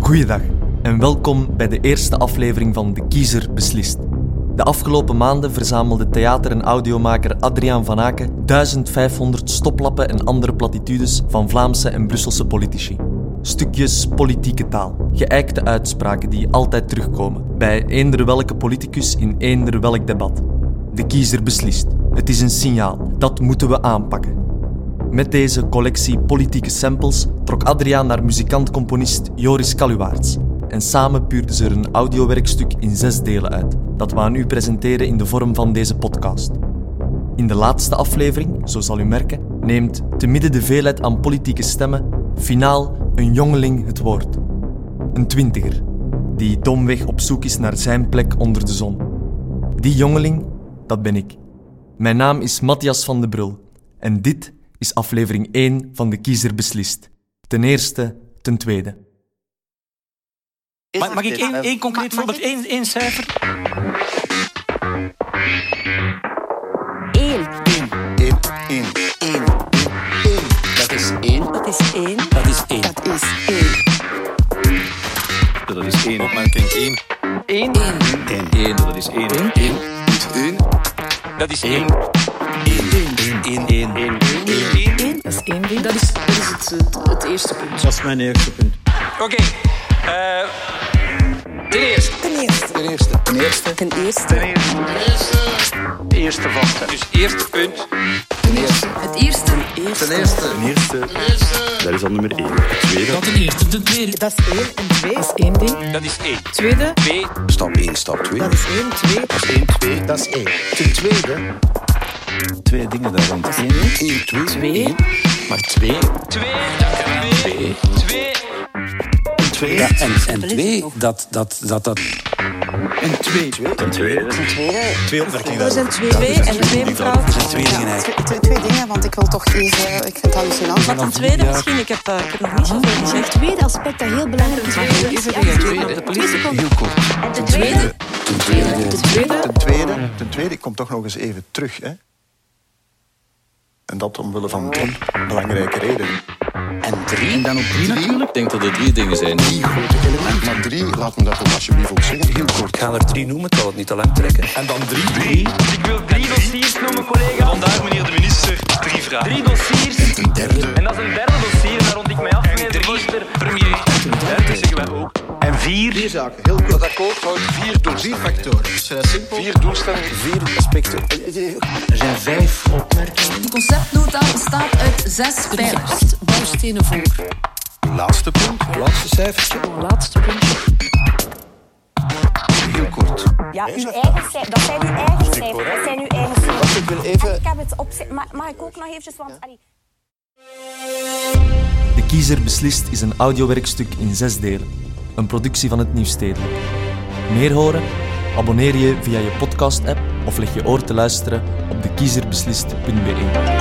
Goeiedag en welkom bij de eerste aflevering van De Kiezer Beslist. De afgelopen maanden verzamelde theater- en audiomaker Adriaan Van Aken 1500 stoplappen en andere platitudes van Vlaamse en Brusselse politici. Stukjes politieke taal, geëikte uitspraken die altijd terugkomen bij eender welke politicus in eender welk debat. De kiezer beslist. Het is een signaal. Dat moeten we aanpakken. Met deze collectie politieke samples trok Adriaan naar muzikant-componist Joris Kaluwaerts. En samen puurden ze er een audiowerkstuk in zes delen uit, dat we aan u presenteren in de vorm van deze podcast. In de laatste aflevering, zo zal u merken, neemt, te midden de veelheid aan politieke stemmen, finaal een jongeling het woord. Een twintiger, die domweg op zoek is naar zijn plek onder de zon. Die jongeling, dat ben ik. Mijn naam is Matthias van de Brul en dit is aflevering 1 van De Kiezer Beslist. Ten eerste, ten tweede. Is Mag, het mag ik dit? één, Eh, één concreet mag- mag voorbeeld, één, één cijfer? 1. dit? Eén, één, één, één. Dat is één. Dat is 1. Dat is één. Dat is 1. Dat is één. Opmerking één. Eén. Eén. Eén. Dat is één. Eén, één. Dat is één. Eén, één, één. Dat is 1. Dat is, dat is het, het, het eerste punt. Dat is mijn eerste punt. Oké. eh, ten eerste. Ten eerste. Ten eerste. Ten eerste. Ten eerste. Dus eerste punt. Ten eerste. Het eerste. Ten eerste. Ten eerste. Dat is al nummer één. Tweede. Dat is 1 en 2. Dat is 1 ding. Dat is één. Tweede. Twee. Stap 1, stap 2. Dat is 1, 2. Eén, twee. Dat is één. Ten tweede. Twee dingen daar rond. Eén, twee. Twee. één. Maar twee. Twee. Twee. Twee. Twee. Ja, en, en is het twee, nog? dat, dat, dat, dat... En twee. Twee. Twee opmerkingen Er zijn twee. Twee dus en twee mevrouw. Twee dingen eigenlijk. Twee, twee, twee dingen, want ik wil toch even... Ik vind het hallucinant. Wat een tweede misschien, ik heb, eh, ik heb nog niet zoveel gezegd. Het tweede aspect dat heel belangrijk is. Is er een tweede? Ten tweede. Heel kort. De tweede, De tweede. Ten tweede. Ten tweede. Ik kom toch nog eens even terug, hè? En dat omwille van drie belangrijke redenen. En drie. En dan op drie natuurlijk. Ik denk dat er drie dingen zijn. Drie grote elementen. Maar drie, laat me dat toch alsjeblieft ook zeggen. Heel kort. Ik ga er drie noemen, ik zal het niet te lang trekken. En dan drie. Drie. Ik wil drie dossiers noemen, collega. Vandaag, meneer de minister, drie vragen. Drie dossiers. Ten derde. En dat is een derde dossier, daar rond ik mij af, meneer de minister. Premier. Dat zeggen wij ook. En vier. Vier zaken, heel kort. Dat akkoord houdt vier door vier factoren. Dus eh, simpel. Vier doelstellingen. Vier aspecten. Er zijn vijf de conceptnota bestaat uit zes pijlers. Bouwstenen voor. Laatste punt. Laatste cijfertje. Laatste punt. Heel kort. Ja, uw eigen cijfers. Dat zijn uw eigen cijfers. Dat zijn uw eigen cijfers. Ik wil even... Ik heb het opzet. Mag, mag ik ook nog eventjes? Want, allee. De Kiezer Beslist is een audiowerkstuk in zes delen. Een productie van het Nieuwstedelijk. Meer horen? Abonneer je via je podcast-app of leg je oor te luisteren op dekiezerbeslist.be.